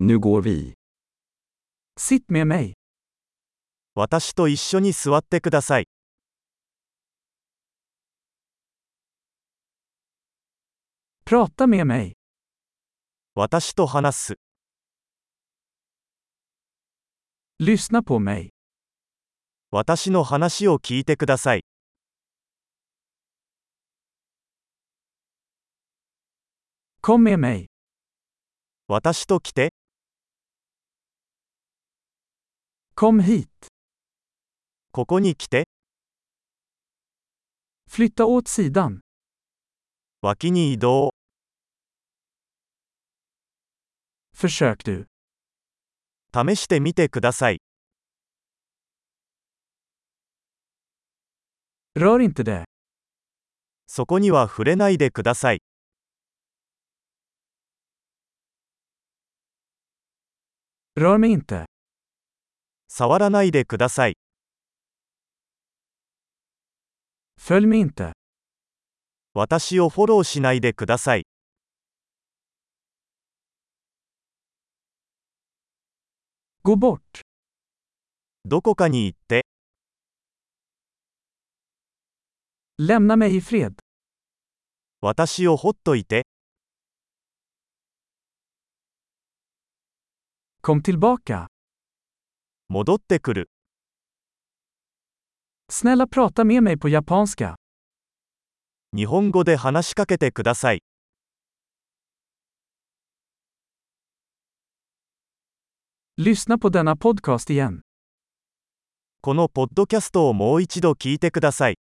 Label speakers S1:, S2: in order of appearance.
S1: Nu går vi.
S2: Sitt med mig.
S3: 私と一緒に座ってください。
S2: Prata med mig.
S3: 私と話す。
S2: Lyssna på mig.
S3: 私の話を聞いてください。
S2: Kom med mig.
S3: 私と来て、
S2: Kom hit.
S3: ここに来て、
S2: Flytta åt sidan.
S3: 脇に移動。
S2: Försök du.
S3: 試してみてください。
S2: Rör inte det.
S3: そこには触れないでください。
S2: Rör mig inte.
S3: 触らないでください。
S2: Följ mig inte.
S3: 私をフォローしないでください。
S2: Gå bort.
S3: どこかに行って、
S2: Lämna mig i fred.
S3: 私をほっといて、
S2: Kom tillbaka.
S3: 戻ってくる。
S2: Snälla prata med mig på japanska.
S3: 日本語で話しかけてください。
S2: Lyssna på denna podcast igen.
S3: このポッドキャストをもう一度聞いてください。